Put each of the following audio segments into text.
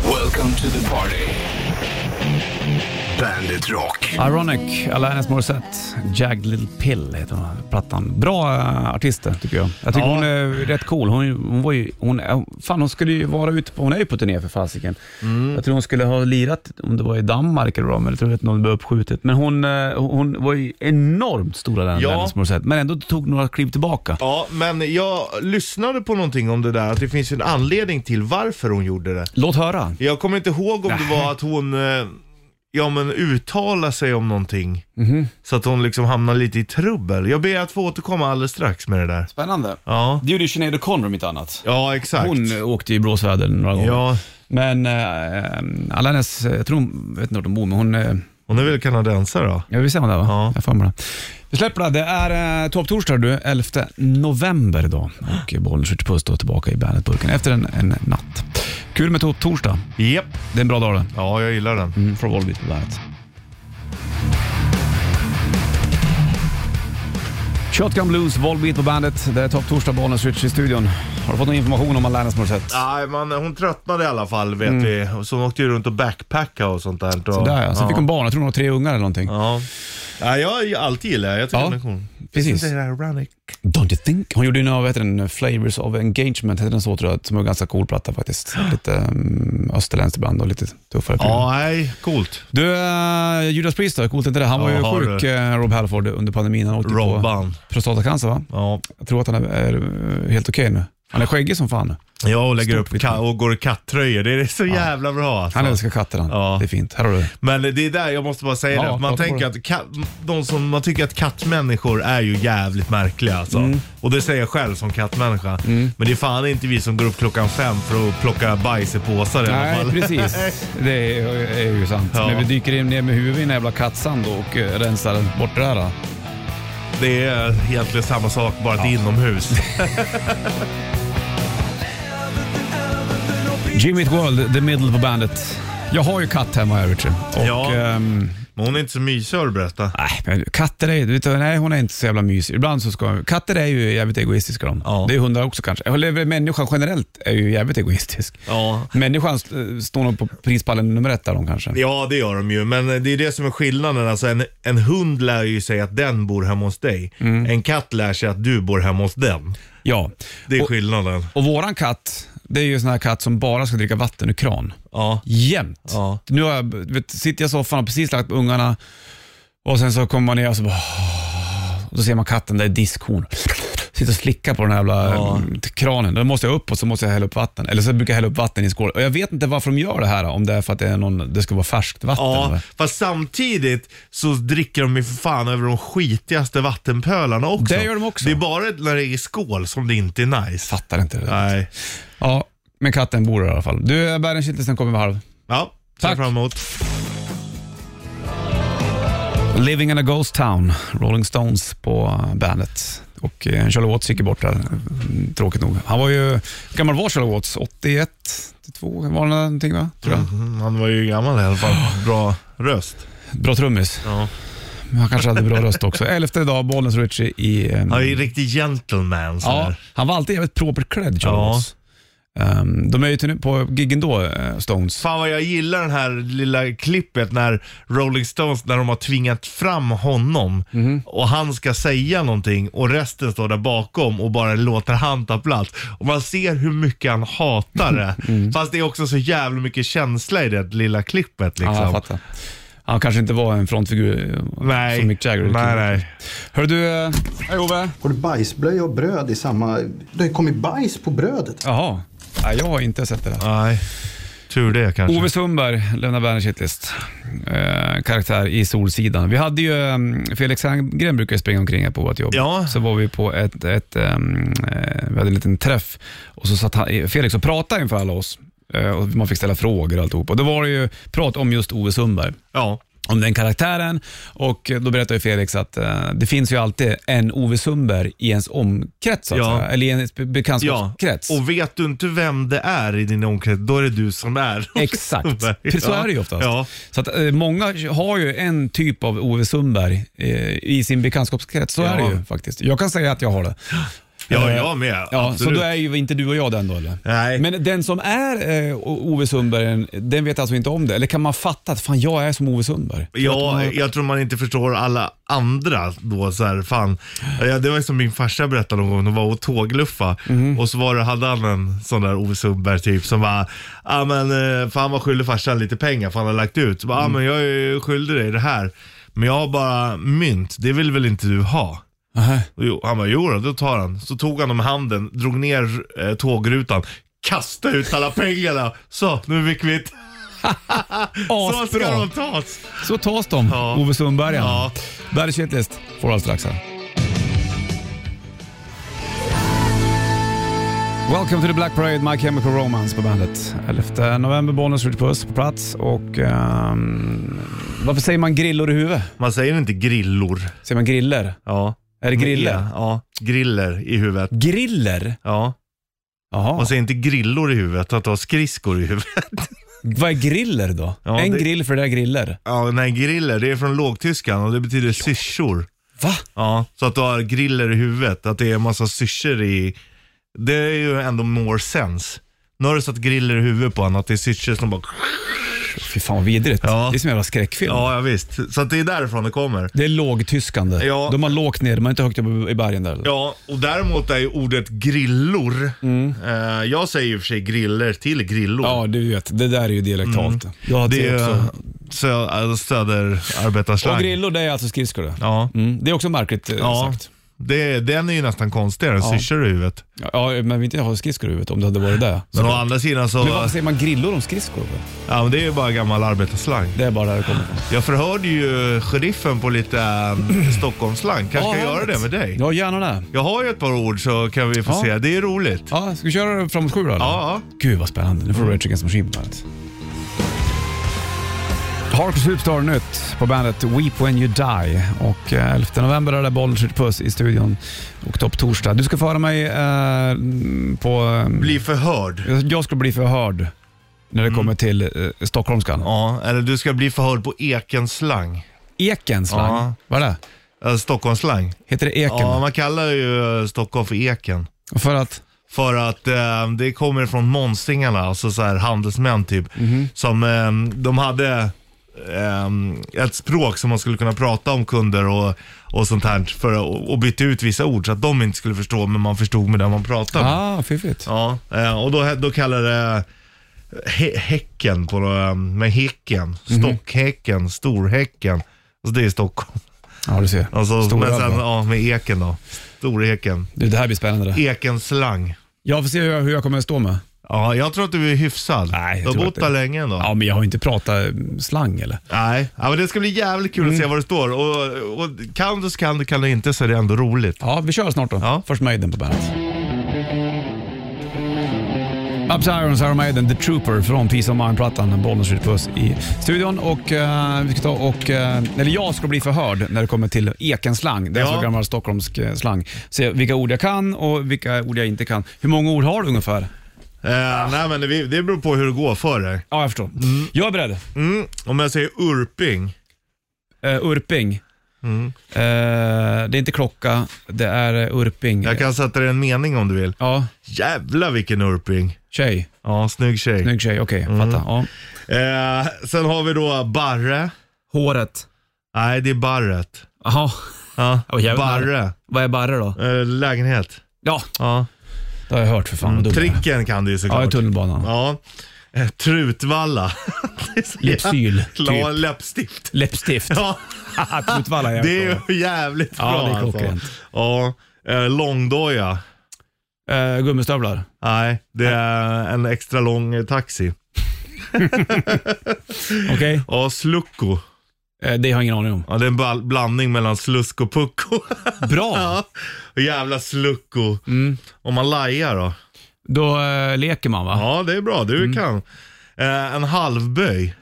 Welcome to the party. Bandit Rock. Ironic, Alanis Morissette, Jagged Little Pill heter hon, plattan. Bra eh, artister tycker jag. Jag tycker Ja. hon är rätt cool. Hon, hon var ju, hon, eh, fan hon skulle ju vara ute på, hon är ju på turné för fasiken. Mm. Jag tror hon skulle ha lirat, om det var i Danmark eller vad, men jag tror att någon blev uppskjutet. Men hon, eh, hon var ju enormt stora den Ja. Alanis Morissette, men ändå tog några kliv tillbaka. Ja, men jag lyssnade på någonting om det där, att det finns ju en anledning till varför hon gjorde det. Låt höra. Jag kommer inte ihåg om det var att hon, eh, ja men uttalade sig om någonting. Mhm. Så att hon liksom hamnar lite i trubbel. Jag ber att få återkomma alldeles strax med det där. Spännande. Ja, Det gjorde ju Sinead O'Connor om inte annat. ja exakt. Hon eh, åkte ju i blåsväder några gånger. Ja, Men äh, Alanis, eh, jag tror hon, jag vet inte vart hon bor, men hon eh, hon är väl kanadensare då? Ja, vi ser det va? Ja. Jag får med det. Vi släpper det. Det är eh, topptorsdag du, 11 november idag. Och eh, Bollnäs skjuter puss då tillbaka i Bandetburken efter en, en natt. Kul med topptorsdag. Japp. Det är en bra dag det. Ja, jag gillar den. Mm, från Volbeat på bandet. Shotgun Blues, Volbeat på bandet. Det är topptorsdag, Bollnäs Ritch i studion. Har du fått någon information om Alanis Morissette? Nej, man, hon tröttnade i alla fall vet vi. Och så hon åkte ju runt och backpacka och sånt där. Och, Mm. Sådär ja. Sen fick hon barn, jag tror hon har tre ungar eller någonting. Ja. ja, jag har alltid gillat det. Jag tycker Ja, den är cool. precis. Isn't that ironic? Don't you think? Hon gjorde ju några, vad heter den, Flavors of Engagement, heter den så tror jag, som är en ganska cool platta faktiskt. Lite um, österländskt ibland och lite tuffare. Ja, nej, coolt. Du, eh, Judas Priest då, coolt inte det? Han var Ja, har ju sjuk, du. eh, Rob Halford, under pandemin. Han åkte ju på Robban. prostatacancer va? Ja. Jag tror att han är, är eh, helt okej nu. Han är skäggig som fan. ja, och lägger Stort upp ka- och går i kattröjor. Det är så jävla bra alltså. Han älskar katter han. Ja. Det är fint. Här har du. Men det är där jag måste bara säga Ja, det. att Man prata på tänker att ka- de som, man tycker att kattmänniskor är ju jävligt märkliga alltså. Mm. Och det säger jag själv som kattmänniska. Men det är fan inte vi som går upp klockan fem för att plocka bajs i påsar i alla Nej, fall. precis. Det är, är ju sant. Ja. När vi dyker in ner med huvudet i en jävla kattsand och eh, rensar bort det här. Då. Det är egentligen samma sak, bara att det är inomhus. Jimmy Eat World, The Middle på bandet. Jag har ju katt hemma i Övertry. Och, Ja. ehm, Men hon är inte så mysig har du berättat. nej, men katter är ju, du vet, nej, hon är inte så jävla mysig. Ibland så ska Katter är ju jävligt egoistiska de. Ja. Det är hundar också kanske. Eller människan generellt är ju jävligt egoistisk. Ja. Människan eh, står nog på prispallen nummer ett där de kanske. Ja, det gör de ju. Men det är det som är skillnaden. Alltså en, en hund lär ju sig att den bor hemma hos dig. Mm. En katt lär sig att du bor hemma hos den. Ja. Det är Och, skillnaden. och våran katt, det är ju en sån här katt som bara ska dricka vatten ur kran. Ja. Jämt. Ja. Nu har jag, vet, sitter jag i soffan och precis lagt på ungarna och sen så kommer man ner och så bara... Och då ser man katten där i diskhon. Sitter och slickar på den här jävla Ja. mm, kranen. Då måste jag upp och så måste jag hälla upp vatten. Eller så brukar jag hälla upp vatten i en skål. Och jag vet inte varför de gör det här. Om det är för att det, är någon, det ska vara färskt vatten. Ja, eller? fast samtidigt så dricker de ju för fan över de skitigaste vattenpölarna också. Det gör de också. Det är bara när det är i skål som det inte är nice. Fattar inte det. där. Nej. Ja, men katten bor där i alla fall. Du, bären Kittelsen kommer vid halv. Ja, ser Tack. fram emot. Living in a Ghost Town, Rolling Stones på bandet. Och eh, Charlie Watts gick ju bort där, mm, tråkigt nog. Han var ju, hur gammal var Charlie Watts? 81, 82 var han någonting va? Tror jag. Mm, Han var ju gammal i alla fall. Bra röst. Bra trummis. Ja. Men Han kanske hade bra röst också. Elfte idag, Bollnäs Ritchie i... ehm, Han är ju en riktig gentleman ja, sådär. han var alltid jävligt propert klädd, Charlie Ja. Watts. Ehm, de är ju turné- på giggen då, eh, Stones. Fan vad jag gillar den här lilla klippet när Rolling Stones, när de har tvingat fram honom Mhm. och han ska säga någonting och resten står där bakom och bara låter han ta plats. Och man ser hur mycket han hatar det. Mm. Fast det är också så jävla mycket känsla i det lilla klippet liksom. Ja, jag fattar. Han kanske inte var en frontfigur eh, Nej. som Mick Jagger. Nej, nej. Hör du, eh, hej Ove. Har du bajsblöja och bröd i samma... Det har ju kommit bajs på brödet. Jaha. Nej, jag har inte sett det där. Nej. Tur det kanske. Ove Sundberg lämnar Berners hitlist. Eh, karaktär i Solsidan. Vi hade ju, ehm, Felix Herngren brukar ju springa omkring här på vårt jobb. Ja. Så var vi på ett, ett ehm, eh, vi hade en liten träff och så satt han, eh, Felix och pratade inför alla oss. Eh, och man fick ställa frågor och alltihop. Och då var det ju prat om just Ove Sundberg. Ja. Om den karaktären och eh, då berättade ju Felix att eh, det finns ju alltid en Ove Sundberg i ens omkrets, så att Ja. säga. eller i ens be- Ja, bekantskapskrets. och vet du inte vem det är i din omkrets, då är det du som är. Exakt, Ja. så är det ju oftast. Ja. Så att, eh, många har ju en typ av Ove Sundberg eh, i sin bekantskapskrets, så är det ju faktiskt. Jag kan säga att jag har det. Ja, Eh, jag med. Ja, så Absolut. då är ju inte du och jag den då eller? Nej. Men den som är eh, O- Ove Sundberg, den vet alltså inte om det? Eller kan man fatta att fan jag är som Ove Sundberg? Tror att Ja, man- jag tror man inte förstår alla andra då så här, fan. Ja, det var ju som min farsa berättade någon gång, de var och tågluffa Mhm. och så var det, hade han en sån där Ove Sundberg typ som var, ja men eh, fan vad skyldig farsan lite pengar för han har lagt ut. Så bara, Ja Mm. men jag är ju skyldig dig det här, men jag har bara mynt, det vill väl inte du ha? Aha. Och jo, han bara, jo då, då tar han. Så tog han dem i handen, drog ner eh, tågrutan, kastade ut alla pengarna. Så, nu är vi kvitt. Så ska Asbra. de tas. Så tas de, Ja. Ove Sundberg. Ja. Ja. Bandit Shitlist får du alldeles strax här. Welcome to the Black Parade, My Chemical Romance på bandet. 11 november, Bollnäs Ritchie Puss på plats och... ehm, varför säger man grillor i huvudet? Man säger inte grillor. Säger man griller? Ja. Är det griller? Ja, ja, griller i huvudet. Griller? Ja. Jaha. Man säger inte grillor i huvudet, att du har skridskor i huvudet. Vad är griller då? Ja, en det- grill för det där griller. Ja, nej, griller, det är från lågtyskan och det betyder syrsor. Va? Ja, så att du har griller i huvudet, att det är en massa syrsor i... Det är ju ändå more sense. Nu har du satt griller i huvudet på honom, att det är syrsor som bara... Fy fan vad vidrigt. Ja. Det är som en jävla skräckfilm. Ja, ja visst. Så att det är därifrån det kommer. Det är lågtyskande. Ja. De har lågt ner, de är inte högt upp i bergen där. eller? Ja, och däremot är ju ordet grillor. Eh, jag säger ju för sig griller till grillor. Ja, du vet. Det där är ju dialektalt. Ja, Mm. det är ju också. sö- alltså, Och söderarbetarslang. grillor, det är alltså skridskor det. Ja. Mm, det är också märkligt eh, Ja, sagt. det, den är ju nästan konstigare än syrsor i huvudet. Ja, men vi inte har skridskor i huvudet om det hade varit det. Men å andra sidan så, Men varför säger man grillor om skridskor? för? ja men det är ju bara gammal arbetarslang. Det är bara där det kommer ifrån. Jag förhörde ju sheriffen på lite ähm, Stockholmsslang. Kanske Ja, kan jag göra härligt. det med dig? Ja, gärna det. Jag har ju ett par ord så kan vi få Ja. se. Det är roligt. Ja, ska vi köra framåt sju då? eller? Ja, Gud vad spännande. Nu får du Rage Against the Machine på bandet. Harkus Superstar nytt på bandet Weep When You Die. Och eh, 11 november är det Bollnäs Puss i studion och Topp Torsdag. Du ska föra mig eh, på... eh, bli förhörd. Jag ska bli förhörd när det kommer till eh, stockholmskan. Ja, eller du ska bli förhörd på ekenslang. Ekens slang. Ja. Vad är det? Äh, Stockholmsslang. Heter det eken? Ja, man kallar ju eh, Stockholm för eken. För att... För att eh, det kommer från monsingarna, alltså så här handelsmän typ. Som eh, de hade eh, ett språk som man skulle kunna prata om kunder och, och sånt här. För, och, och bytte ut vissa ord så att de inte skulle förstå, men man förstod med det man pratade med. Ah, fiffigt. Ja, eh, och då, då kallade det hä- häcken, på, eh, med häcken, stockhäcken, storhäcken. Alltså det är Stockholm. Ja, du ser. Alltså, Stora men sen, bra. ja, med eken då. Storhäcken. Du, det här blir spännande. det. Ekens slang. Jag får se hur jag, hur jag kommer att stå med. Ja, jag tror att du är hyfsad. Nej, jag du tror har att bott det- där länge ändå. Ja, men jag har inte pratat eh, slang eller? Nej, ja, men det ska bli jävligt kul att Mm. se vad det står. Och, och kan du så kan du, kan du inte så är det ändå roligt. Ja, vi kör snart då. Ja. Först Maiden på bandet. Ups Irons, Iron Maiden, The Trooper från Peace of Mind-plattan, Bollnäs Ritchie Puss i studion. Och eh, vi ska ta och, eh, eller jag ska bli förhörd när det kommer till ekenslang. Det är Ja. alltså gammal stockholmsk eh, slang. Se vilka ord jag kan och vilka ord jag inte kan. Hur många ord har du ungefär? Eh, nej, men det, det beror på hur det går för dig. Ja, jag förstår. Jag är beredd. Mm. Om jag säger urping. Eh, urping. Mm. Eh, det är inte klocka, det är eh, urping. Jag kan sätta dig en mening om du vill. Ja, Jävla vilken urping. tjej. Ja, snygg tjej. Snygg tjej, okej. Mm. Fattar. Ja. Eh, sen har vi då barre. Håret. Nej, det är barret. Jaha. Ja, Åh, jävlar. barre. Vad är barre då? Eh, lägenhet. Ja, Ja. det har jag hört för fan. vad dum jag är. Tricken kan du ju såklart. Ja, i tunnelbanan. Mm, Ja. Eh, Trutvalla. Det är så Lypsyl, jävla- typ. Ja, läppstift. Läppstift. Ja, Haha, Tutvalla är det jävligt är ju jävligt Ja, bra alltså. det är klockrent. Ja, eh, långdoja. bra. Eh, Gummistövlar. Nej, det är en extra lång eh, taxi. Okej? Ja, slucko. Eh, det har jag ingen aning om. Ja, det är en bal- blandning mellan slusk och pucko. Bra! ja, och jävla slucko. Mm. Om man lajar då? Då eh, leker man va? Ja, det är bra. Du Mm. kan. Eh, en halvböj.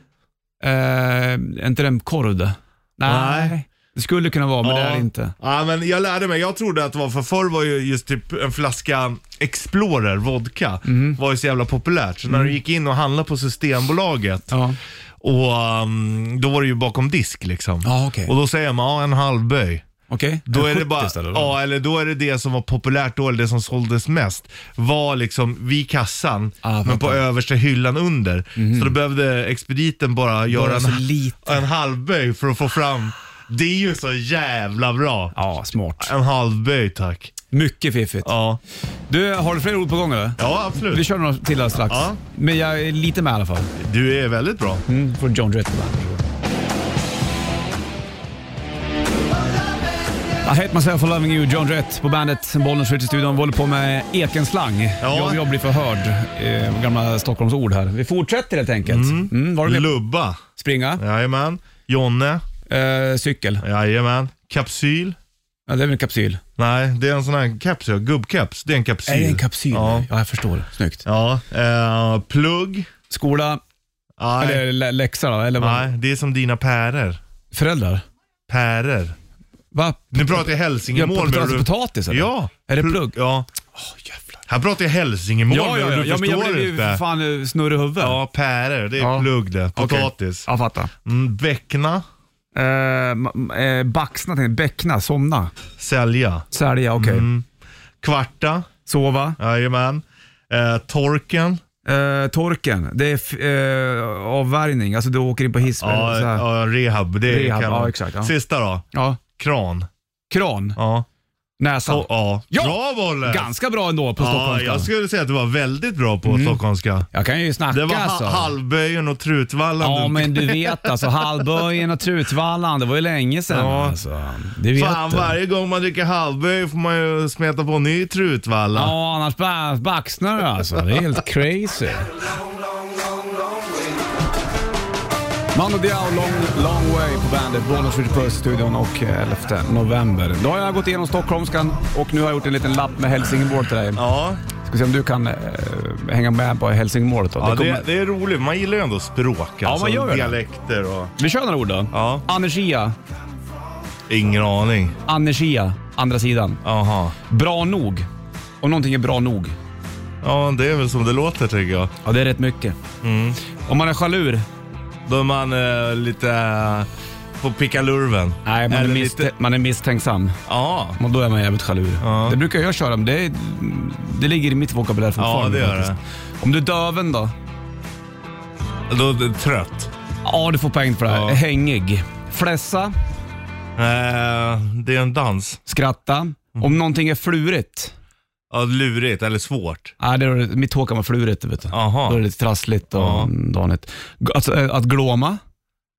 Eh, är inte den korv det? Nej. Det skulle kunna vara, men ja. det är det inte. Ja, men jag lärde mig. Jag trodde att det var, för förr var ju just typ en flaska Explorer vodka, var ju så jävla populärt. Så när du gick in och handlade på Systembolaget, Ja. och um, då var det ju bakom disk liksom. Ja, okej. Och då säger man, ja en halvböj. Okej? Då är det 70 bara, istället då? ja, eller då är det det som var populärt då, eller det som såldes mest, var liksom vid kassan, Ah, fattar. men på översta hyllan under. Så då behövde expediten bara göra så en, lite. en halvböj för att få fram. Det är ju så jävla bra. Ja, smart. En halvböj tack. Mycket fiffigt. Ja, Du, har du fler ord på gång eller? ja Vi absolut. kör några till här strax. Ja. Men jag är lite med i alla fall. Du är väldigt bra. Mm, från John Jett på bandet. I hate myself for loving you, John Jett på bandet. Bollen skjuter i studion. Vi håller på med Ekenslang. Jag, jag blir förhörd. Eh, gamla Stockholmsord här. Vi fortsätter helt enkelt. Mm. var du med? Lubba. Springa, Jajamän. Jonne. eh, cykel. Jajamän. Kapsyl. Ja, det är väl en kapsyl? Nej, det är en sån här kapsyl. Gubbkeps. Det är en kapsyl. Är det en kapsyl? Ja. Ja, jag förstår. Snyggt. Ja. Eh, plugg. Skola, Nej. eller lä- läxa då? Eller vad? Nej, det är som dina pärer. Föräldrar? Pärer. Va? Nu pratar jag Jag hälsingemål. pratar men alltså du- potatis eller? Ja. Är det Pl- plugg? Ja. Här pratar jag hälsingemål, Ja, ja, men ja, du ja men förstår jag blev ju inte. för fan eh, snurrig i huvudet. Ja, pärer. Det är Ja. plugg det. Okej. Potatis. Jag fattar. Mm, bäckna. Eh, ma- ma- eh, baxna, tänkte jag. bäckna, somna, Sälja. sälja, okej. Mm. Kvarta. Sova. Jajamän. Eh, torken. Eh, torken, det är f- eh, avvärjning, alltså du åker in på hiss. Ja, så här. ja, rehab. Det Rehab, kan ja, man- exakt, ja. Sista då. Ja. Kran. Kran, Ja. näsa. To- ja. Ja! Bra bollen! Ganska bra ändå på ja, stockholmska. Mm. jag Jag, skulle säga att du var väldigt bra på stockholmska. kan ju snacka Det var alltså. ha- halvböjen och trutvallan. Ja du- men du vet alltså, Hallböjen och Trutvallan, det var ju länge sedan Ja. alltså. Det vet Fan, du. varje gång man dricker halvböj får man ju smeta på en ny trutvalla. Ja, annars ba- baxnar du alltså. Det är helt crazy. Mando Diao, long, long way på bandet. Bollnäs skjuter puss i studion och eh, 11 november. Då har jag gått igenom stockholmskan och nu har jag gjort en liten lapp med hälsingemål till dig. Ja, Ska se om du kan eh, hänga med på hälsingemålet då. ja Det det, kommer- det är roligt. Man gillar ju ändå språk. alltså, man gör det. Dialekter och... Vi kör några ord då. Ja. Energia, Ingen aning. energia, andra sidan. Jaha. Bra nog. Om någonting är bra nog. Ja, det är väl som det låter tycker jag. Ja, det är rätt mycket. Mm. Om man är chalur. Då är man eh, lite eh, på pickalurven. Nej, man är, Eller misstä- man är misstänksam. Ja. Men då är man jävligt chalur. Ja. Det brukar jag köra, men det, det ligger i mitt vokabulär fortfarande. det gör det. faktiskt. Om du är döven då? Då är det trött. Ja, du får poäng för det här. Ja. Hängig. Flässa, Eh, det är en dans. skratta. Mm. Om någonting är flurigt. Ja, lurigt eller svårt. Nej, det är, mitt hår kan vara flurigt. Vet du. Aha. Då är det lite trassligt och Ja. danigt. G- Alltså, eh, att glåma?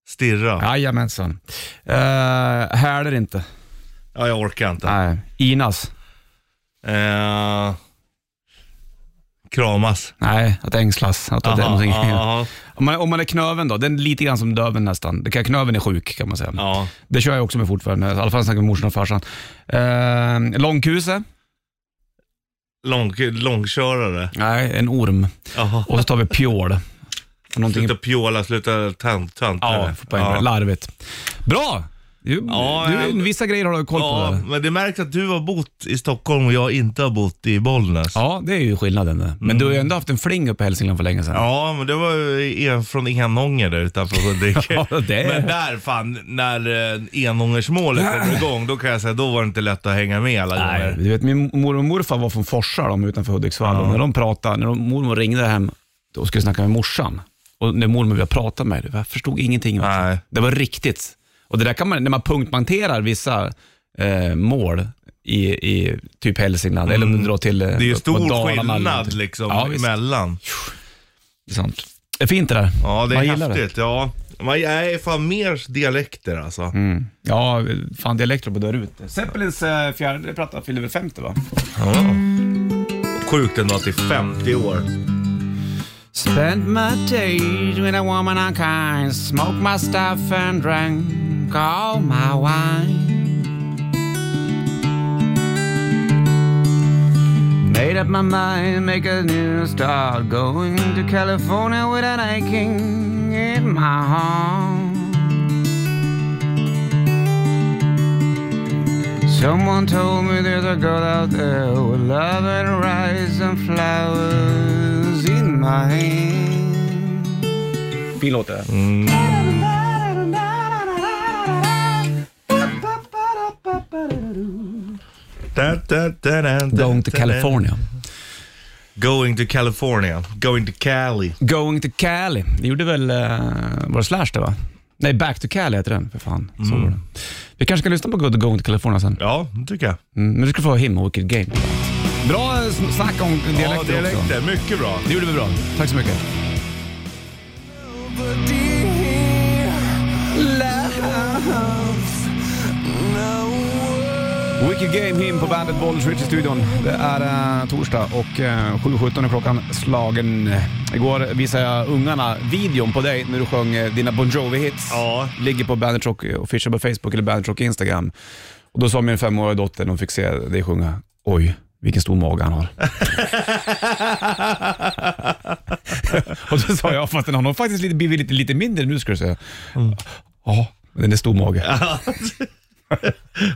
Stirra. Jajamensan. Uh, häler inte. Ja, jag orkar inte. Nej. Inas? Eh, kramas. Nej, att ängslas. Att, att det är någonting. aha, Om, man, om man är knöven då, den är lite grann som döven nästan. Det kan, knöven är sjuk kan man säga. ja. Det kör jag också med fortfarande, i alla fall snackar med morsan och farsan. Eh, långkuse? Lång, långkörare. Nej, en orm. Jaha. Och så tar vi pjål. Någonting... Sluta pjåla, sluta tant, tant, Ja, får poäng för det. Larvigt. Bra! Du, Ja, du, jag- vissa grejer har du koll på. Ja, där. men det märks att du har bott i Stockholm och jag inte har bott i Bollnäs. Ja, det är ju skillnaden. det. Men du har ju ändå haft en fling uppe i Hälsingland för länge sedan. Ja, men det var ju en, från Enånger där utanför Huddinge. Ja, det är- Men där fan, när eh, Enångersmålet kom igång, då kan jag säga då var det inte lätt att hänga med alla Nej, gånger. du vet, min mormor och morfar var från Forsa, de utanför Hudiksvall. Och När de pratade, när de, mormor ringde hem och skulle snacka med morsan. Och när mormor började prata med mig, jag förstod ingenting. va? Nej. Det var riktigt. Och det där kan man, när man punktmarkerar vissa eh, mål i, i typ Hälsingland, eller om du drar till eh, Mm. Det är ju på stor Dalarna eller skillnad någonting. liksom Ja, visst. emellan. Det är sant. Det är fint det där. Ja, det man är gillar häftigt. Ja. Man är fan mer dialekter alltså. Mm. Ja, fan dialekter på dörr ute. Zeppelins eh, fjärde platta fyller väl 50 va? Ja. Sjukt ändå att det är 50 år. Spent my days with a woman unkind, smoked my stuff and drank all my wine. Made up my mind, make a new start, going to California with an aching in my heart. Someone told me there's a girl out there with love and rice and flowers in my hand. Fin låt det. Going to California. Going to California. Going to Cali. Going to Cali. Det gjorde väl, eh, var det Slash det va? Nej, Back to Cali heter den. För fan, så var det. Vi kanske kan lyssna på Good Going to California sen. Ja, det tycker jag. Mm, men du ska få Him och Wicked Game. Bra eh, sn- snack om dialekter, ja, också. dialekter. Mycket bra. Det gjorde vi bra. Tack så mycket. Wicked Game Him på bandet Bollnäs Rich i studion. Det är eh, torsdag och eh, 7.17 är klockan slagen. Igår visade jag ungarna videon på dig när du sjöng eh, dina Bon Jovi-hits. Ja. Ligger på Bandit Rock eh, official på Facebook eller Bandit Rock Instagram. Och då sa min femåriga dotter, när hon fick se dig sjunga, oj vilken stor mage han har. och då sa jag, fast den har nog faktiskt lite, blivit lite, lite mindre nu ska du säga. Mm. Ja, men den är stor mage.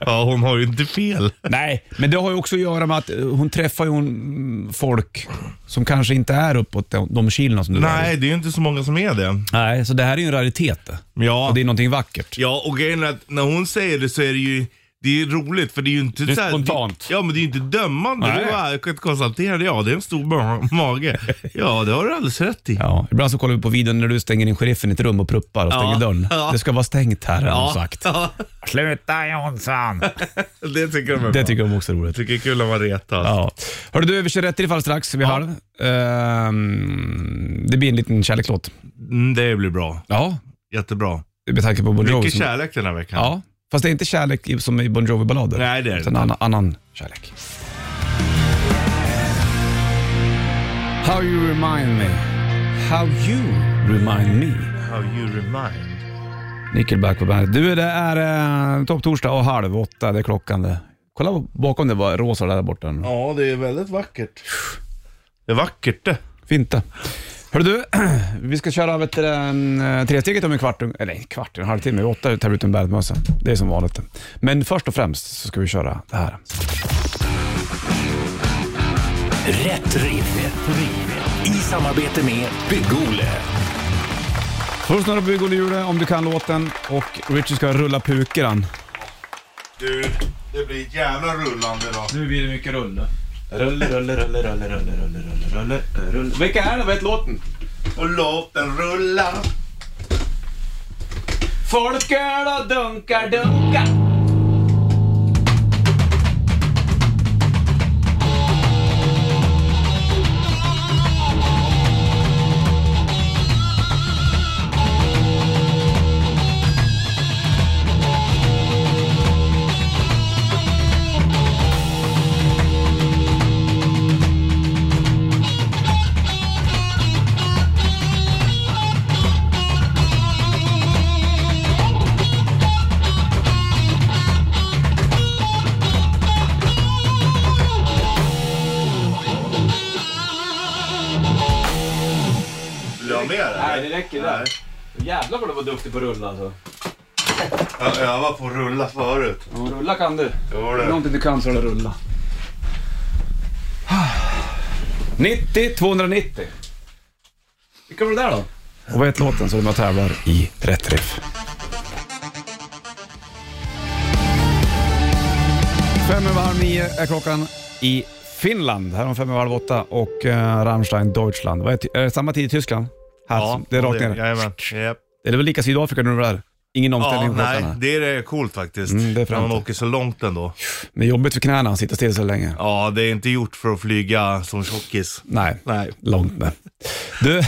Ja, hon har ju inte fel. Nej, men det har ju också att göra med att eh, hon träffar ju mm, folk som kanske inte är uppåt de, de kilona som du Nej, det är ju inte så många som är det. var. Nej, så det här är ju en raritet. det. Ja, Och det är någonting vackert. ja och grejen är att när hon säger det så är det ju det är ju roligt för det är ju inte Det är så här- spontant. det- Ja men det är ju inte dömande. Nej. Det är bara jag kan konstatera det. Ja det är en stor ma- mage. Ja det har du alldeles rätt i. Ja, ibland så kollar vi på videon när du stänger in sheriffen i ett rum och pruppar och stänger Ja, dörren. ja. Det ska vara stängt här, har de sagt. Ja, Sluta Jonsson! det tycker de är Det bra. tycker de också är roligt. tycker det är kul när man retas. Ja. Hörru du, vi kör rätt i det fall strax vid halv. Ehm, det blir en liten kärlekslåt. Mm, det blir bra. Ja, Jättebra. med tanke på Bon Jovi. Mycket som- kärlek den här veckan. Ja, fast det är inte kärlek i- som i Bon Jovi-ballader. Nej, det är det Utan annan, annan kärlek. How you remind me. How you remind me. How you remind. Nickelback på bandet. Du, det är eh, topptorsdag och halv åtta, det är klockan det. Kolla bakom det var rosa där borta. Ja det är väldigt vackert. Det är vackert det. Fint det. Hörru du, vi ska köra vet, du, en, eh, tresteget om en kvart, eller en kvart, en halvtimme, vid åtta tar vi ut en bandmössa. Det är som vanligt. Men först och främst så ska vi köra det här. Rätt riff. Rätt riff. I samarbete med Bygg-Ole. Först snurra på Bygg och Lule om du kan låten och Richard ska rulla pukeran. Du, det blir jävla rullande idag. Nu blir det mycket rull. Rull, rull, rull, rull, rull, rull, rull, rull, rull. Vilka är det? Vad heter låten? Och låt den rulla. Folk öl och dunkar, dunkar. Vill du ha mer eller? Nej, det räcker där. Nej. Jävlar vad du var duktig på att rulla alltså. Jag övade på att rulla förut. Ja, Rulla kan du. Jo, Är det. det någonting du kan så är det rulla. 90 290. Vilka var det där då? Och vad heter låten så är det man tävlar i rätt riff? Fem över halv nio är klockan i Finland. Här om fem över halv åtta och eh, Rammstein Deutschland. Vad är, ty- är det samma tid i Tyskland? Här, som- Alltså, det är rakt ner. Jajamän. Japp. Är det väl lika Sydafrika nu där? Ingen Ja, omställning på nej, låtarna. det är coolt faktiskt. Mm, det är när man framtid. åker så långt ändå. Det är jobbigt för knäna att sitta still så länge. Ja, det är inte gjort för att flyga som tjockis. Nej, Nej. långt med. Du,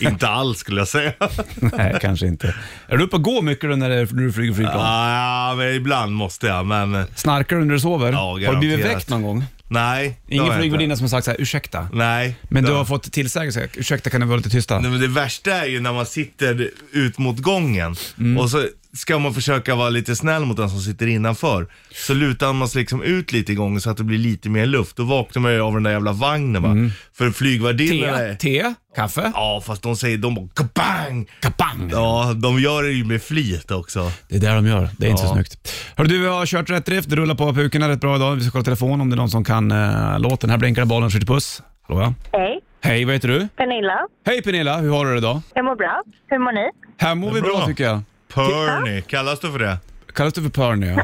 inte alls skulle jag säga. nej kanske inte. Är du uppe och går mycket då när det- när du flyger flygplan? ja, men ibland måste jag, men Snarkar du när du sover? har du blivit garanterat. väckt någon gång? nej. det har Ingen jag flygvärdinna inte. Mm. som har sagt så här, ursäkta? Nej. Men det du har- har fått tillsägelse, ursäkta kan ni vara lite tysta? Nej, men det värsta är ju när man sitter ut mot gången och så ska man försöka vara lite snäll mot den som sitter innanför. Så lutar man sig liksom ut lite i gången så att det blir lite mer luft. Då vaknar man ju av den där jävla vagnen va. För flygvärdinnorna Te, är... te, kaffe, Ja, fast de säger, de bara kabang! kabang! Ja, de gör det ju med flit också. Det är det de gör, det är inte så Ja. snyggt. Hörru du, vi har kört rätt drift, det rullar på pukorna rätt bra idag. Vi ska kolla telefon om det är någon som kan eh, låten. Här blinkar det bollen, skjuter puss. Hallå ja. Hej, Hej, vad heter du? Pernilla. Hej Pernilla, hur har du det idag? Jag mår bra. Hur mår ni? Här mår vi bra bra. tycker jag. Perny, kallas du för det? Kallas du för Perny? Ja.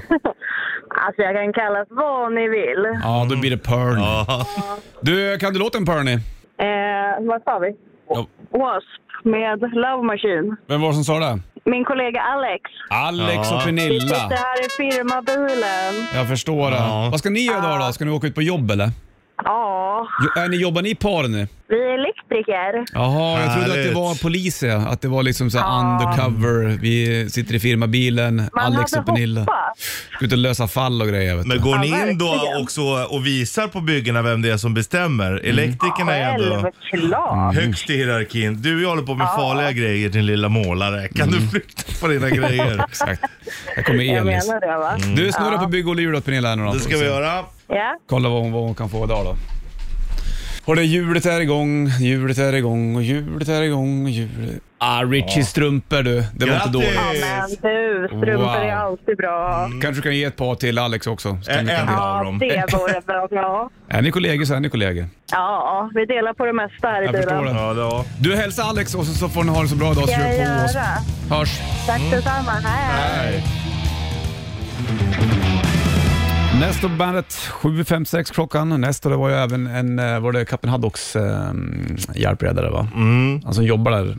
Alltså jag kan kallas vad ni vill. Ja, då blir det Perny. Ja. Du, kan du låten Perny? Eh, vad sa vi? Ja. Wasp med Love Machine. Vem var det som sa det? Min kollega Alex. Alex Ja. och Vi Pernilla. sitter här i firmabilen. Jag förstår det. Ja. Vad ska ni göra idag då? Ska ni åka ut på jobb eller? Ja, Jo, är ni, jobbar ni i par nu? vi är elektriker. Jaha, jag trodde att det Härligt. var polis ja. Att det var liksom så här undercover. Vi sitter i firmabilen, Man Alex och hade Pernilla. hoppats. Ska ut och lösa fall och grejer vet Men du. går ni Ja, in då verkligen. också och visar på byggena vem det är som bestämmer? Elektrikerna är ändå Självklart. högst i hierarkin. Du, jag håller på med farliga grejer din lilla målare. Kan Mm. du flytta på dina grejer? Exakt. Här kommer Jag Elis. menar det va? Du, snurra på bygg och åt Pernilla här nu då. Det ska vi göra. Ja. Kolla vad hon, vad hon kan få idag då. Och det hjulet är igång, hjulet är igång och hjulet är igång och hjulet... Ah, Richie strumpor du. Det var inte Grattis! dåligt. ja, men du, strumpor är Wow. alltid bra. Kanske kan ge ett par till Alex också. Så kan En vi kan... av Ja, dem. det vore bra. Ja. Är ni kollegor så är ni kollegor. ja, vi delar på det mesta här i Jag förstår bilen. det. Ja, ja. Du hälsa Alex och så- så får ni ha det så bra idag så Ska du jag är på oss. göra. Hörs. Tack detsamma. Hej. Nästa bandet 7.56 klockan. Nästa det var ju även en, eh, var det Kapten Haddocks eh, hjälpredare va? Mm. Han som jobbar där,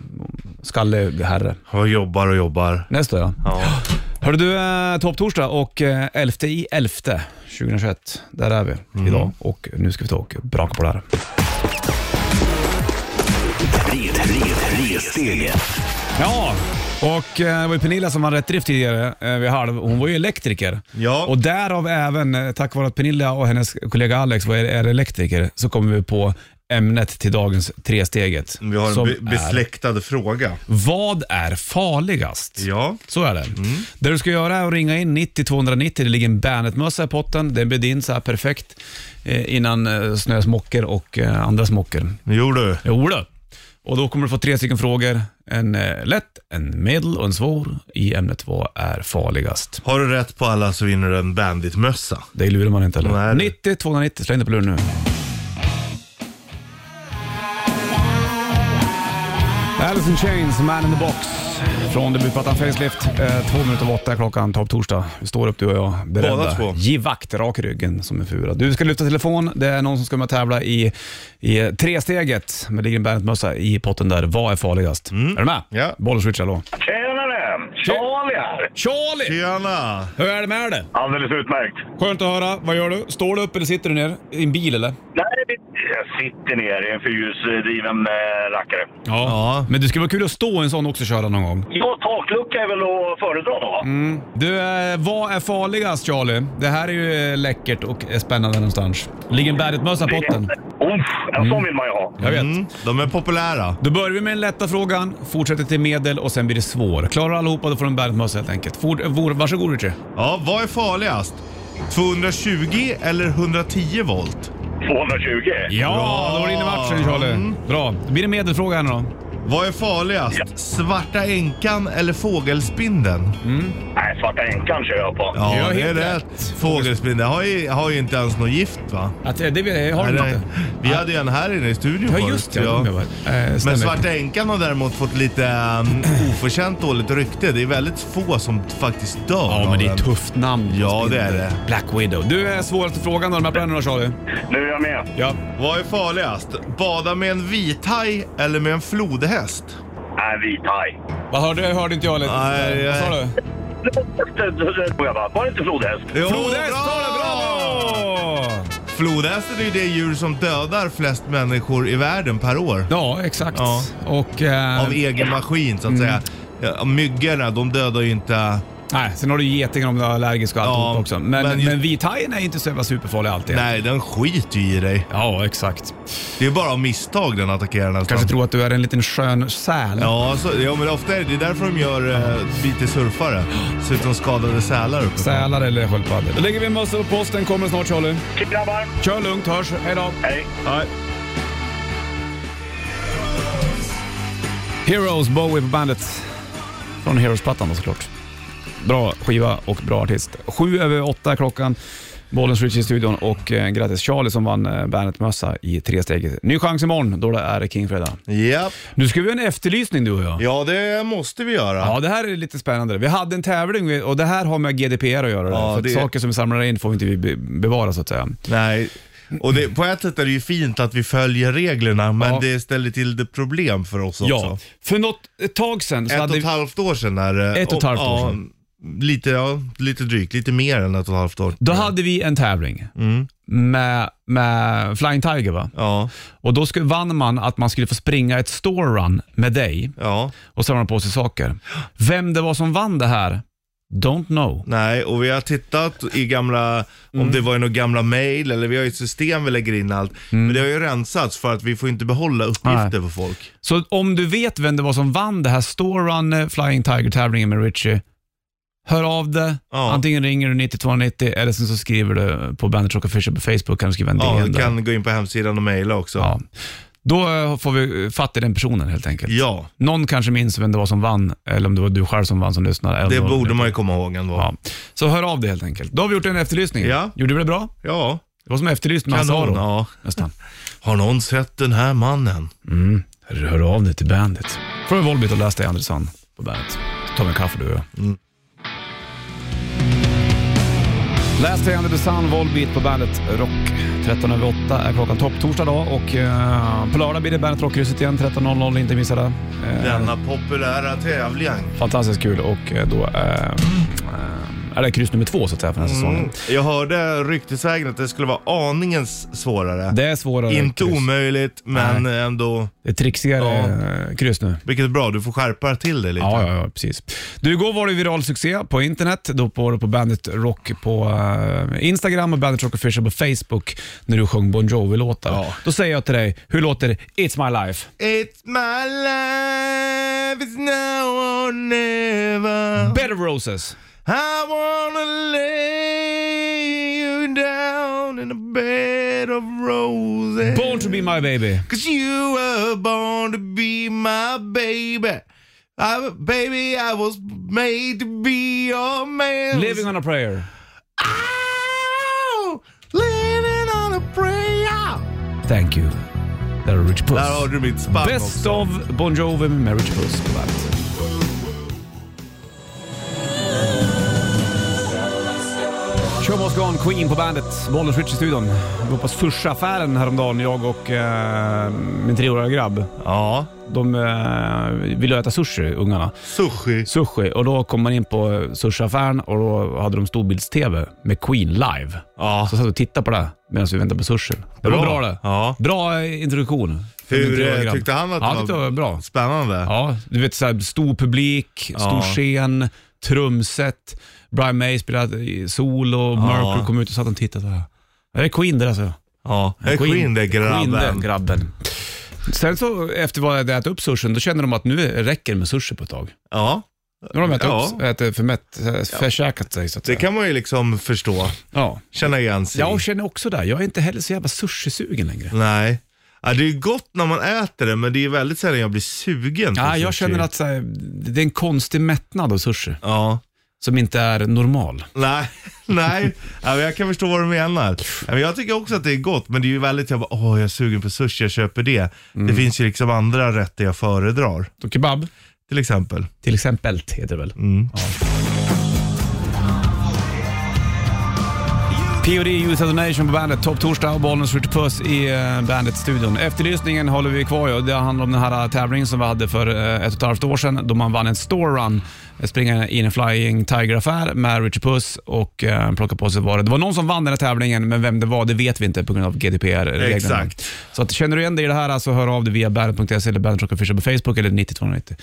skallig herre. Och jobbar och jobbar. Nästa ja. Ja. Hörru du, eh, topptorsdag och eh, 11 i 11 2021. Där är vi Mm. idag och nu ska vi ta och braka på det här. Red, red, ressteget. Ja, och eh, det var ju Pernilla som hade rätt drift tidigare eh, vid halv. Hon var ju elektriker. Ja. Och därav även, eh, tack vare att Pernilla och hennes kollega Alex var, är elektriker, så kommer vi på ämnet till dagens tresteget. Vi har en som be- är, besläktad fråga. Vad är farligast? Ja. Så är det. Det du ska göra är att ringa in 90 290. Det ligger en Bandet-mössa i potten. Den blir din så här perfekt eh, innan eh, snösmockor och eh, andra smockor. Jo du. Jo då. Och då kommer du få tre stycken frågor. En eh, lätt, en medel och en svår i ämnet vad är farligast? Har du rätt på alla så vinner du en banditmössa. Det lurar man inte eller? Nej. 90 290, släng dig på luren nu. Alice in Chains, Man in the Box. Från debutplattan Facelift. Eh, två minuter över åtta är klockan, tar torsdag. Vi står upp du och jag, beredda. Båda två. Ge vakt, rak i ryggen som en fura. Du ska lyfta telefon, det är någon som ska med och tävla i, i tresteget. Men det ligger en Bernt-mössa i potten där. Vad är farligast? Är du med? Mm. Ja. Bollswitch, hallå. Tjenare! Charlie här! Charlie! Tjena! Hur är det med dig? Alldeles utmärkt. Skönt att höra. Vad gör du? Står du upp eller sitter du ner? I en bil eller? Nej, vi- jag sitter ner i en fyrhjulsdriven eh, rackare. Ja. Men det skulle vara kul att stå i en sån också och köra någon gång. Ja, taklucka är väl att föredra då? va? Du, eh, vad är farligast Charlie? Det här är ju eh, läckert och är spännande någonstans. Ligger en Bernet-mössa på botten? Uff, en sån vill man ju ha. Jag vet. Mm, de är populära. Då börjar vi med den lätta frågan, fortsätter till medel och sen blir det svår. Klarar allihopa då får du en Bernet-mössa helt enkelt. Fort, eh, vor- varsågod Richie. Ja, vad är farligast? 220 eller 110 volt? 220. Ja, då var det in i matchen Charlie. Mm. Bra. Då blir det medelfråga här nu då. Vad är farligast? Svarta änkan eller fågelspindeln? Nej, Svarta Änkan kör jag på. Ja, Jag har det är helt rätt. Fågelspindeln har ju, har ju inte ens något gift va? Att, eh, det, det har du Nej, inte. nej. Vi hade ju en här inne i studion Ja, förut, just det. Ja. Eh, Men stämmer. Svarta Änkan har däremot fått lite um, oförtjänt dåligt rykte. Det är väldigt få som faktiskt dör Ja, av men det är den. ett tufft namn. Ja, det är det. Black Widow. Du, är svåraste frågan då. De här planen då Charlie? Nu är jag med. Ja. Vad är farligast? Bada med en vithaj eller med en flodhäst? Nej, vit haj. Vad hörde, hörde inte jag lite? Eh, Nej, Vad sa nej. du? Det- det- det tror jag bara. Var det inte flodhäst? Jo, Flodhäst bra! sa du! Bra! Flodhästen är ju det djur som dödar flest människor i världen per år. Ja, exakt. Ja. Och... Eh, Av egen maskin Mm. så att säga. Ja, myggorna, de dödar ju inte... nej, sen har du getingen om du är allergisk och alltihop Ja, också. Men, men, men just- vithajen är inte så jävla superfarlig alltid. Nej, den skiter ju i dig. Ja, exakt. Det är bara av misstag den attackerar nästan. Kanske tror att du är en liten skön säl. Ja, så, ja, men ofta är det, det är därför de gör eh, biter surfare. Så att de skadade sälar uppe. Sälar eller sköldpaddor. Då lägger vi en mössa på posten. Kommer snart Charlie. Grabbar, Kör lugnt, hörs. Hej då. hej. Nej. Heroes Bowie på bandet. Från Heroes-plattan då såklart. Bra skiva och bra artist. Sju över åtta är klockan. Bollens Richie i studion och eh, grattis Charlie som vann eh, Bandet-mössa i tre steg. Ny chans imorgon, då det är det Kingfredag. Ja. Nu ska vi göra en efterlysning du och jag. ja, det måste vi göra. Ja, det här är lite spännande. Vi hade en tävling och det här har med GDPR att göra. Ja, för att det- Saker som vi samlar in får vi inte vi be- bevara så att säga. Nej. Och det, på ett sätt är det ju fint att vi följer reglerna, men Ja. det ställer till det problem för oss också. Ja, för något ett tag sedan så Ett och hade ett halvt år sedan är det. Ett och ett halvt år ja, sedan. Lite, ja, lite drygt, lite mer än ett och ett halvt år. Då hade vi en tävling Mm. med, med Flying Tiger va? Ja, Och då skulle, vann man att man skulle få springa ett store run med dig ja, och samla på sig saker. Vem det var som vann det här, don't know. nej, och vi har tittat i gamla, Mm. om det var i några gamla mail eller vi har ju ett system vi lägger in allt. Mm. Men det har ju rensats för att vi får inte behålla uppgifter på folk. Så om du vet vem det var som vann det här store run eh, Flying Tiger-tävlingen med Richie, hör av dig. Ja. Antingen ringer du 9290 eller sen så skriver du på Bandit Rock Official på Facebook, kan du skriva en Ja, DM du där. kan gå in på hemsidan och mejla också. Ja. Då eh, får vi eh, fatt i den personen helt enkelt. Ja, Någon kanske minns vem det var som vann, eller om det var du själv som vann som lyssnare. eller det om borde man ju komma ihåg ändå. Ja. Ja, Så hör av dig helt enkelt. Då har vi gjort en efterlysning. Ja. Gjorde vi det bra? Det var som efterlyst med Hans kanon. Aro. Ja. Nästan. Har någon sett den här mannen? Hör av dig till bandet. Från Volbit och läs dig Andersson på bandet. Ta en kaffe du och jag. Mm. Läs dig Andersson, Volbit på bandet Rock. 13 över 8 är klockan topp torsdag dag och eh, på lördag blir det bandet Rockkrysset igen 13.00, inte missa det. Eh, Denna populära tävling. Fantastiskt kul och eh, då eh, eh, är det kryss nummer två så att säga för den här Mm. säsongen. Jag hörde ryktesvägen att det skulle vara aningens svårare. Det är svårare Inte kryss. omöjligt, men ändå. Det är trixigare Ja. eh, kryss nu. Vilket är bra, du får skärpa till dig lite. Ja, ja, ja, precis. Du, igår var det viral succé på internet. Då var det på Bandit Rock på eh, Instagram och Bandit Rock Official på Facebook när du sjöng Bon Jovi-låtar. Ja. Då säger jag till dig, hur låter It's My Life? It's my life, it's now or never. Better Roses. I wanna lay you down in a bed of roses. Born to be my baby. Cause you were born to be my baby. I, baby, I was made to be your man. Living on a prayer. Ow! Living on a prayer. Thank you. Där har du Rich Puss. Där har du mitt spann Best också. of Bon Jovi med Marriage Puss på bandet. Show must go on, Queen på bandet. Bollens Rich i studion. Vi var på sushiaffären häromdagen, jag och eh, min treåriga grabb. Ja, De eh, ville äta sushi, ungarna. sushi. Sushi. Och då kom man in på eh, sushiaffären och då hade de storbilds-TV med Queen live. Ja. Så satt vi och tittade på det medan vi väntade på sushin. Det var Bra. bra det. Ja. Bra eh, introduktion. för min Hur treåriga eh, grabb. tyckte han att ja, det var? var bra. Spännande. Ja, du vet såhär stor publik, stor Ja. scen, trumset. Brian May spelade i solo, Mercury kom ut och satt och tittade så här. Det är Queen det där så. Ja. Det är Queen det Queen det, grabben. grabben. Sen så efter vad jag hade ätit upp sushin, då kände de att nu räcker det med sushi på ett tag. Ja, Nu har de ätit Ja. upp, ätit förmätt, försäkat sig så att det säga. kan man ju liksom förstå. Ja. Känna igen sig i. Jag känner också det. Jag är inte heller så jävla sushi-sugen längre. Nej. Ja, det är ju gott när man äter det, men det är ju väldigt sällan jag blir sugen på Ja, jag sushi. känner att så här, det är en konstig mättnad av sushi Ja. som inte är normal. Nej, nej. Ja, men jag kan förstå vad du menar. Ja, men Jag tycker också att det är gott, men det är ju väldigt, jag bara, åh jag är sugen på sushi, jag köper det. Mm. Det finns ju liksom andra rätter jag föredrar, Och kebab? till exempel. Till exempel heter det väl. Ja. P.O.D. Youth of the Nation på bandet. Topp torsdag och Bollnäs skjuter puss i eh, bandet-studion. Efterlysningen håller vi kvar ju. Det handlar om den här eh, tävlingen som vi hade för eh, ett och ett halvt år sedan då man vann en store run. eh, Springa in i en Flying Tiger-affär med Richard Puss och eh, plocka på sig varor. Det var någon som vann den här tävlingen, men vem det var det vet vi inte på grund av GDPR-reglerna. Exakt. Så att, känner du igen dig i det här så hör av dig via bandet.se eller bandet Rock Official på Facebook eller 9290.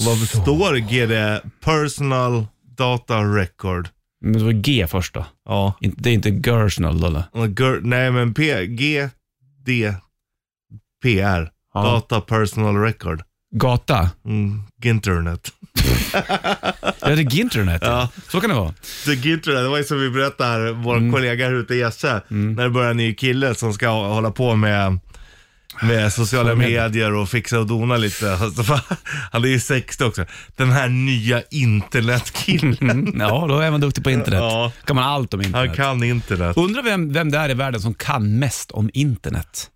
Och vad står GD? Personal Data Record. Men det var G först då. Ja. Inte- Det är inte Gersnell då, eller? Och gr- Nej men P, G, D, PR. Ja. Data Personal Record. Gata? Mm. Ginternet. Ja, det är Ginternet. Ja. Så kan det vara. Det Ginternet, det var ju som vi berättade Mm. här, vår kollega här ute, Jesse, när det började en ny kille som ska hå- hålla på med med sociala medier och fixa och dona lite. Alltså, fan, Han är ju 60 också. Den här nya internetkillen. Mm, ja, då är man duktig på internet. Ja. kan man allt om Han internet. kan internet. Undrar vem, vem det är i världen som kan mest om internet.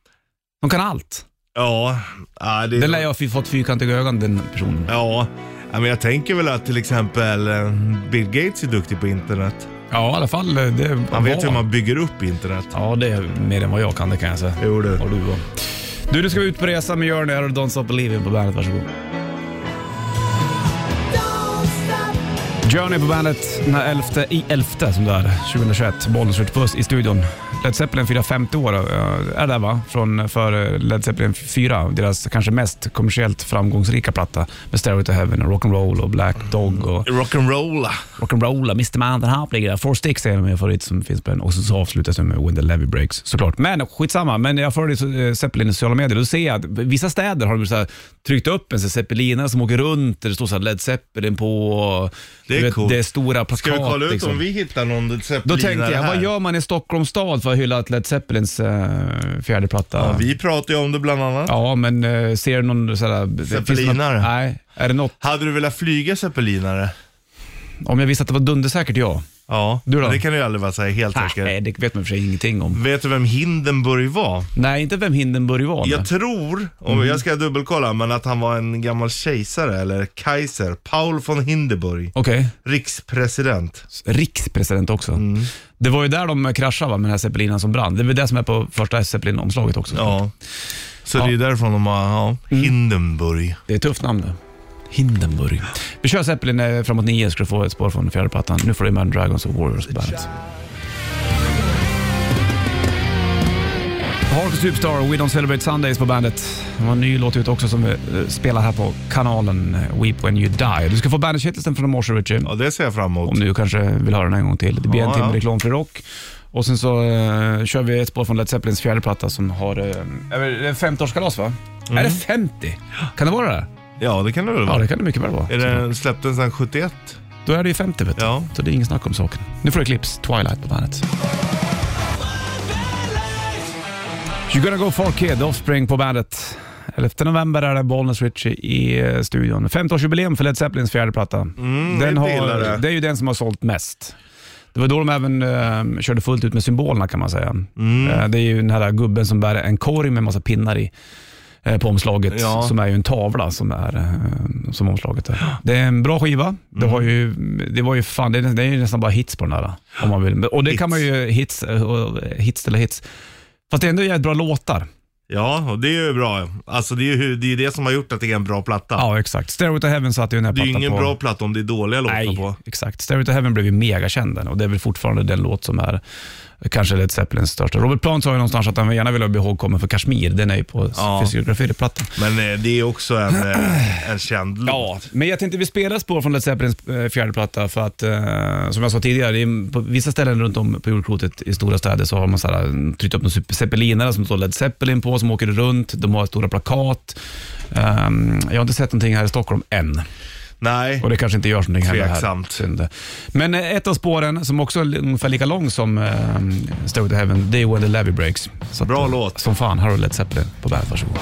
De kan allt. Ja, ja, det Den lär jag ha fått fyrkantiga ögon, den personen. Ja, ja, men jag tänker väl att till exempel eh, Bill Gates är duktig på internet. Ja, i alla fall. eh, Det Han vet hur man bygger upp internet. Ja, det är mer än vad jag kan, det kan jag säga. Jo, du. Och du då. Du, du ska ut på resa med Jörn här och Don't Stop Believing på bandet. Varsågod. Journey på bandet den här 11 i 11 som det är, 2021. Bollnäs skjuter puss i studion. Led Zeppelin firar 50 år, eh, är det va? Från för eh, Led Zeppelin 4, deras kanske mest kommersiellt framgångsrika platta med Stairway to Heaven och Rock'n'Roll och Black Dog och Rock'n'roll. Rock'n'Roll, Mr. Man, den här ligger där. Four Sticks är en av mina favoriter som finns på den. Och så avslutas den med When the Levy Breaks, såklart. Men skitsamma, men jag följer så- eh, Zeppelin i sociala medier och då ser jag att vissa städer har de så här, tryckt upp en så här zeppelinare som åker runt där det står så här Led Zeppelin på. och- Det är du coolt. Det är stora plakat. Ska vi kolla ut liksom. om vi hittar någon Då zeppelinare tänkte jag, här? vad gör man i Stockholms stad för att hylla att Led Zeppelins eh, fjärde platta? Ja, vi pratade ju om det bland annat. Ja, men eh, ser du någon sådär... Zeppelinare? Nej, är det något? Hade du velat flyga zeppelinare? Om jag visste att det var dundersäkert, ja. Ja, Du då? det kan du ju aldrig vara så här helt Nej, säker. det vet man i och för sig ingenting om. Vet du vem Hindenburg var? Nej, inte vem Hindenburg var. nej. Mhm. Jag tror, om jag ska dubbelkolla, men att han var en gammal kejsare eller kejser. Paul von Hindenburg, Okej, rikspresident. rikspresident också. Mm. Det var ju där de kraschade va, med den här zeppelinen som brann. Det är väl det som är på första zeppelin-omslaget också. Ja. Så det är därifrån de har, ja, Mm. Hindenburg. Det är ett tufft namn det. Hindenburg. Vi kör zeppelin eh, framåt nio, ska du få ett spår från fjärde plattan. Nu får du Imagine Dragons och Warriors på bandet. Harkus Superstar, We Don't Celebrate Sundays på bandet. Det var en ny låt ut också som vi eh, spelar här på kanalen eh, Weep When You Die. Du ska få bandet-shitlisten från i morse, Richie. Ja, det ser jag fram emot. Om du kanske vill höra den en gång till. Det blir en Ja, timme ja. reklamfri rock. Och sen så eh, kör vi ett spår från Led Zeppelins fjärde platta som har eh, är det- det är 50-årskalas va? Är det 50? Kan det vara det? Mm. Ja, det kan det väl Ja, vara. det kan det mycket väl vara. Är den, släpptes den 71? Då är det ju 50 vet du. Ja. Så det är ingen snack om saken. Nu får du Eclipse, Twilight på bandet. You're gonna go for kid, Offspring på bandet. 11 november är det Bollnäs Ritchie i eh, studion. 15-årsjubileum för Led Zeppelins fjärde platta. den inte illa Mm, det. har, det är ju den som har sålt mest. Det var då de även eh, körde fullt ut med symbolerna kan man säga. Mm. Eh, det är ju den här gubben som bär en korg med massa pinnar i eh, på omslaget Ja. som är ju en tavla som är eh, som omslaget är. Det är en bra skiva. Det, har ju, det var ju fan, det är, det är ju nästan bara hits på den här. Om man vill. Och det kan Hits. man ju, hits, eh, och, eh, hits eller hits. Fast det är ändå jävligt bra låtar. Ja, och det är ju bra. Alltså det är ju det, är ju det som har gjort att det är en bra platta. Ja, exakt. Stairway to Heaven satte ju den här det är ju plattan ingen på. bra platta om det är dåliga låtar Nej, på. exakt. Stairway to Heaven blev ju megakänd den, och det är väl fortfarande den låt som är kanske Led Zeppelins största. Robert Plant sa ju någonstans att han gärna vill bli ihågkommen för Kashmir. Den är ju på Ja. fysiografiplattan. Men eh, det är också en, eh, en känd Ja, låt. men jag tänkte vi spelar spår från Led Zeppelins eh, fjärde platta för att, eh, som jag sa tidigare, det är, på vissa ställen runt om på jordklotet i stora städer så har man så här, mm, tryckt upp några zeppelinare som står Led Zeppelin på, som åker runt. De har stora plakat. Ehm, jag har inte sett någonting här i Stockholm än. Nej, Och det kanske inte görs någonting heller här. Tveksamt. Synd. Men eh, ett av spåren, som också är li- ungefär lika lång som eh, Stairway to Heaven, det är When the Levy Breaks. Så Bra eh, låt. Som fan, här har du Led Zeppelin på bandet. Varsågod.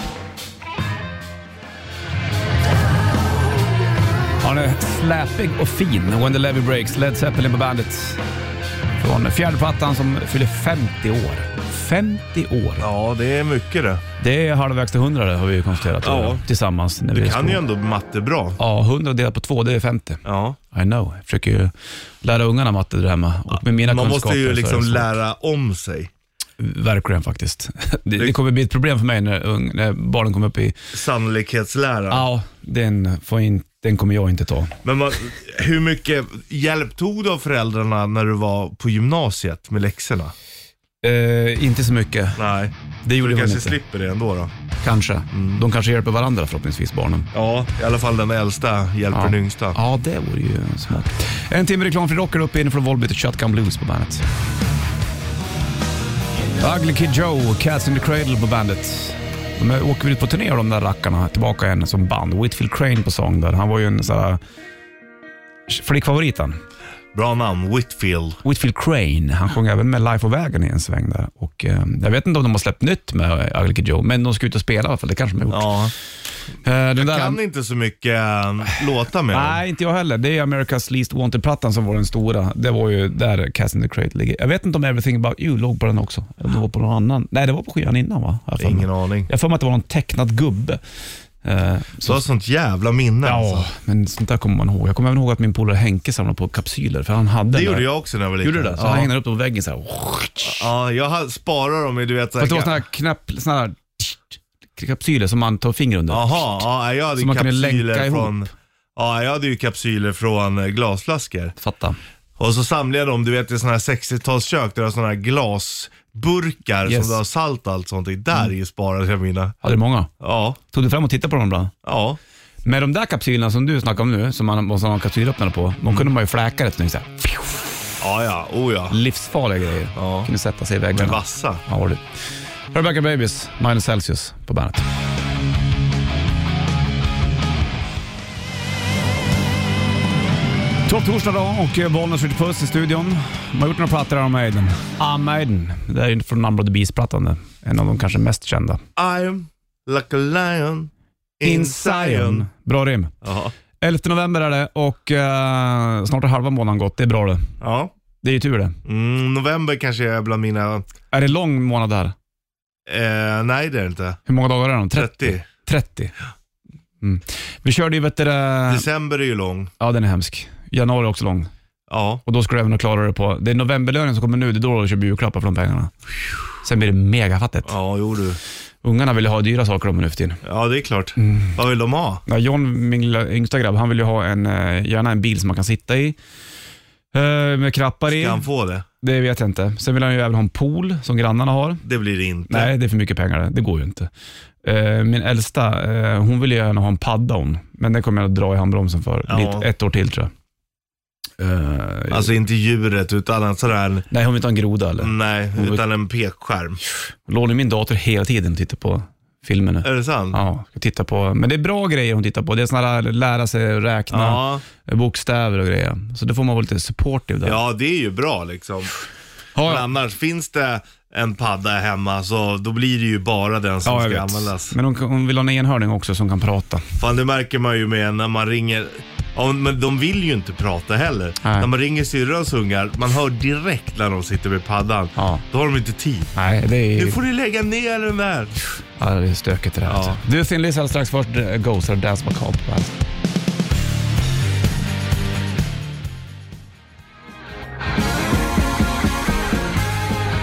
Ja, den är släpig och fin. When the Levy Breaks, Led Zeppelin på bandet. Från fjärde plattan som fyller 50 år. 50 år! ja det är mycket det. Det är halvvägs till 100 det har vi ju konstaterat Ja. tillsammans. När Du vi kan slog. ju ändå matte bra. Ja, 100 delat på 2, det är 50. Ja. I know. Jag försöker ju lära ungarna matte där hemma. Och med mina Man kunskaper måste ju så är liksom det så. lära om sig. Verkligen faktiskt. Det, det kommer bli ett problem för mig när, ung, när barnen kommer upp i... Sannolikhetslära. Ja, den, får in, den kommer jag inte ta. Men man, hur mycket hjälp tog du av föräldrarna när du var på gymnasiet med läxorna? Eh, inte så mycket. Nej, Det gjorde du hon kanske inte. slipper det ändå då. Kanske. De kanske hjälper varandra förhoppningsvis, barnen. Ja, i alla fall den äldsta hjälper den yngsta. Ja, det vore ju smart. En timme reklam för rocker upp inifrån Volbeat och Shotgun Blues på bandet. Ugly Kid Joe, Cats in the Cradle på bandet. De är- åker ut på turné de där rackarna, tillbaka igen som band. Whitfield Crane på sång där. Han var ju en sån här flickfavoriten. Bra namn, Whitfield. Whitfield Crane, han sjöng även med Life of Wagon i en sväng där. Och, eh, jag vet inte om de har släppt nytt med eh, Ugly Kid Joe, men de ska ut och spela i alla fall. Det kanske de har gjort. Ja. Eh, den där, Kan inte så mycket eh, låta med dem. Nej, inte jag heller. Det är America's Least Wanted-plattan som var den stora. Det var ju där Cast in the Crate ligger. Jag vet inte om Everything About You låg på den också. Eller om det var på någon annan. Nej, det var på skivan innan va? Jag har för mig. Ingen aning. Jag har för mig att det var någon tecknad gubbe. Eh, Du har sånt jävla minne alltså. Ja, men sånt där kommer man ihåg. Jag kommer även ihåg att min polare Henke samlade på kapsyler, för han hade Det den gjorde där. jag också när jag var liten. Gjorde du det? Så Ja. han hängde upp dem på väggen så här. Ja, jag har- sparar dem i du Fast vet det var såna såhär... här knapp, såna här kapsyler som man tar finger under. Jaha, ja, jag hade Som ju man kunde länka kapsyler ihop. från... Ja, jag hade ju kapsyler från eh, glasflaskor. Fatta. Och så samlade jag dem, du vet i sådana här 60-talskök, där du har sådana här glasburkar Yes. som du har salt och allt sånt i. Där mm. sparade jag mina. Hade du många? Ja, Tog du fram och tittade på dem ibland? ja. Med de där kapsylerna som du snackar om nu, som man måste ha kapsylöppnare på, de kunde man ju fläka rätt snyggt. så här. Ja, ja. Oh ja. Livsfarliga grejer. Ja. Kunde sätta sig i Men väggarna. vassa. Ja, du. Rebecca Babies, Minus Celsius på bandet. Topp torsdag då och eh, Bollnäs skjuter puss i studion. De har gjort några plattor här om Maiden. Ah, Maiden. Det är ju från Number of the Beast-plattan. det. En av de kanske mest kända. I'm like a lion in Zion. Bra rim. Ja. 11 november är det och eh, snart har halva månaden gått. Det är bra det. ja. Det är ju tur det. Mm, november kanske är bland mina... Är det lång månad här? Eh, nej, det är det inte. Hur många dagar är det? 30. 30. Mm. Vi körde ju vet du, det- December är ju lång. Ja, den är hemsk. Januari är också lång. Ja. Och då ska du även klara det på... Det är novemberlönen som kommer nu, det är då du köper julklappar för de pengarna. Sen blir det megafattigt. Ja, jo du. Ungarna vill ju ha dyra saker om nu för tiden. Ja, det är klart. Mm. Vad vill de ha? Ja, John, min lilla yngsta grabb, han vill ju ha en, eh, gärna en bil som man kan sitta i. Eh, Med krappar i. Ska han få det? Det vet jag inte. Sen vill han ju även ha en pool som grannarna har. Det blir det inte. Nej, det är för mycket pengar det. Det går ju inte. Eh, Min äldsta, eh, hon vill ju gärna ha en padda hon. Men den kommer jag att dra i handbromsen för. Ja. Lite, ett år till tror jag. Eh, Alltså inte djuret, utan en sån här... Nej, hon vill inte ha en groda eller? Nej, utan en pekskärm. Lånar min dator hela tiden och tittar på filmer nu. Är det sant? Ja, ska titta på. Men det är bra grejer hon tittar på. Det är såna här lära sig räkna Ja. bokstäver och grejer. Så då får man vara lite supportive där. Ja, det är ju bra liksom. Ja, Men ja. annars, finns det en padda hemma så då blir det ju bara den som Ja, jag ska vet. användas. Men hon, hon vill ha en enhörning också som kan prata. Fan, det märker man ju med när man ringer. Ja, men de vill ju inte prata heller. Nej. När man ringer syrrans ungar, man hör direkt när de sitter vid paddan. Ja. Då har de inte tid. Nej, det är, Nu får du lägga ner den där. ja, det är stökigt det där. Ja. alltså. Du, Thin Lizzy, alldeles strax först eh, Ghost och Dance Macabre på bandet.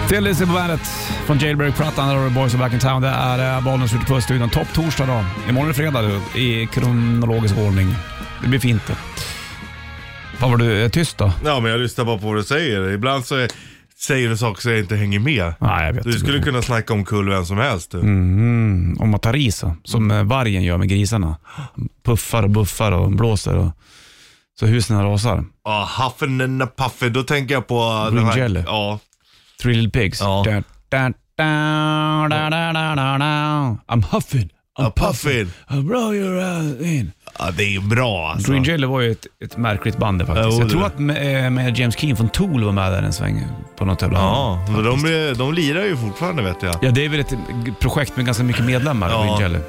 Thin Lizzy på bandet från Jailbreak-plattan. Där har du Boys Are Back In Town. Det är eh, Bollnäs ute på studion. Topp torsdag då. Imorgon är det fredag du, i kronologisk ordning. Det blir fint det. Vad var du eh, tyst då? Ja, men jag lyssnar bara på vad du säger. Ibland så är, säger du saker så jag inte hänger med. Nej, jag vet Du inte. skulle kunna snacka om kul vem som helst. Du. Mm, om att ta ris, som eh, vargen gör med grisarna. Puffar och buffar och blåser och så husen rasar. Ja, Huffen and a Puffy, då tänker jag på... eh, Green den här- Jelly. Ja. Three little pigs. Ja. Da, da, da, da, da, da, da, da. I'm huffing, I'm A puffing, puffin. I'm blow your ass in. ja, det är ju bra alltså. Green Jelly var ju ett, ett märkligt band det, faktiskt. Jo, Jag det. tror att med, med James Keen från Tool var med där en sväng på något jävla... Ja, men de, är- de lirar ju fortfarande vet jag. Ja, det är väl ett projekt med ganska mycket medlemmar, Ja. Green Jelly.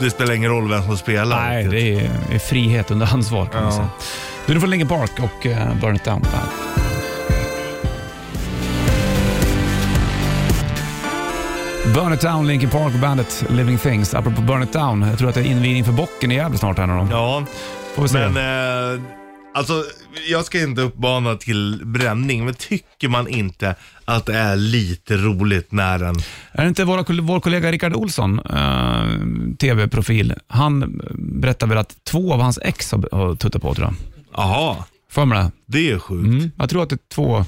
Det spelar ingen roll vem som spelar. Nej, riktigt. det är, är frihet under ansvar kan man Ja. säga. Du, nu får Linkin Park och eh, Burn It Down på bandet. Burn It Down, Linkin Park och bandet Living Things. Apropå Burn It Down, jag tror att det är invigning för Bocken i Gävle snart här nu då. Ja, Får vi se. men eh, alltså jag ska inte uppmana till bränning, men tycker man inte att det är lite roligt när den... Är det inte våra, koll- vår kollega Rickard Olsson, eh, tv-profil, han berättade väl att två av hans ex har, har tuttat på tror jag. Jaha, För mig det. det är sjukt. Mm. Jag tror att det är två,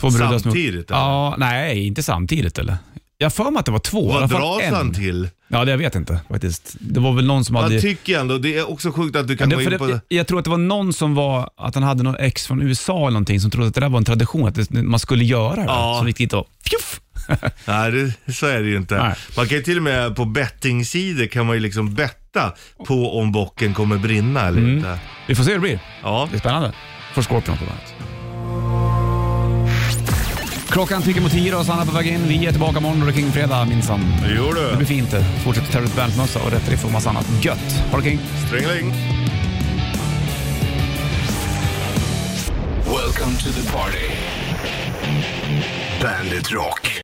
två brudar som... Samtidigt, eller? Ja, nej, inte samtidigt eller? Jag har för mig att det var två. i alla Vad fall dras en. han till? Ja, det jag vet inte faktiskt. Det var väl någon som hade... Jag tycker ändå, det är också sjukt att du kan det, gå för in på... det, jag tror att det var någon som var, att han hade någon ex från USA eller någonting som trodde att det där var en tradition, att det, man skulle göra det. Ja. Som gick dit och fjuff! Nej, det, så är det ju inte. Nej. Man kan ju till och med på bettingsidor kan man ju liksom betta på om bocken kommer brinna eller inte. Mm. Vi får se hur det blir. Ja. Det är spännande. för Scorpion på bandet. Klockan tickar mot tio och Sanna är på väg in. Vi är tillbaka imorgon och det är King-fredag minsann. Jo Det blir du. fint det. Fortsätt Terrorist Band-mössa och rätt riff och massa annat gött. Ha det King! Stringeling. Welcome to the party. Bandit Rock.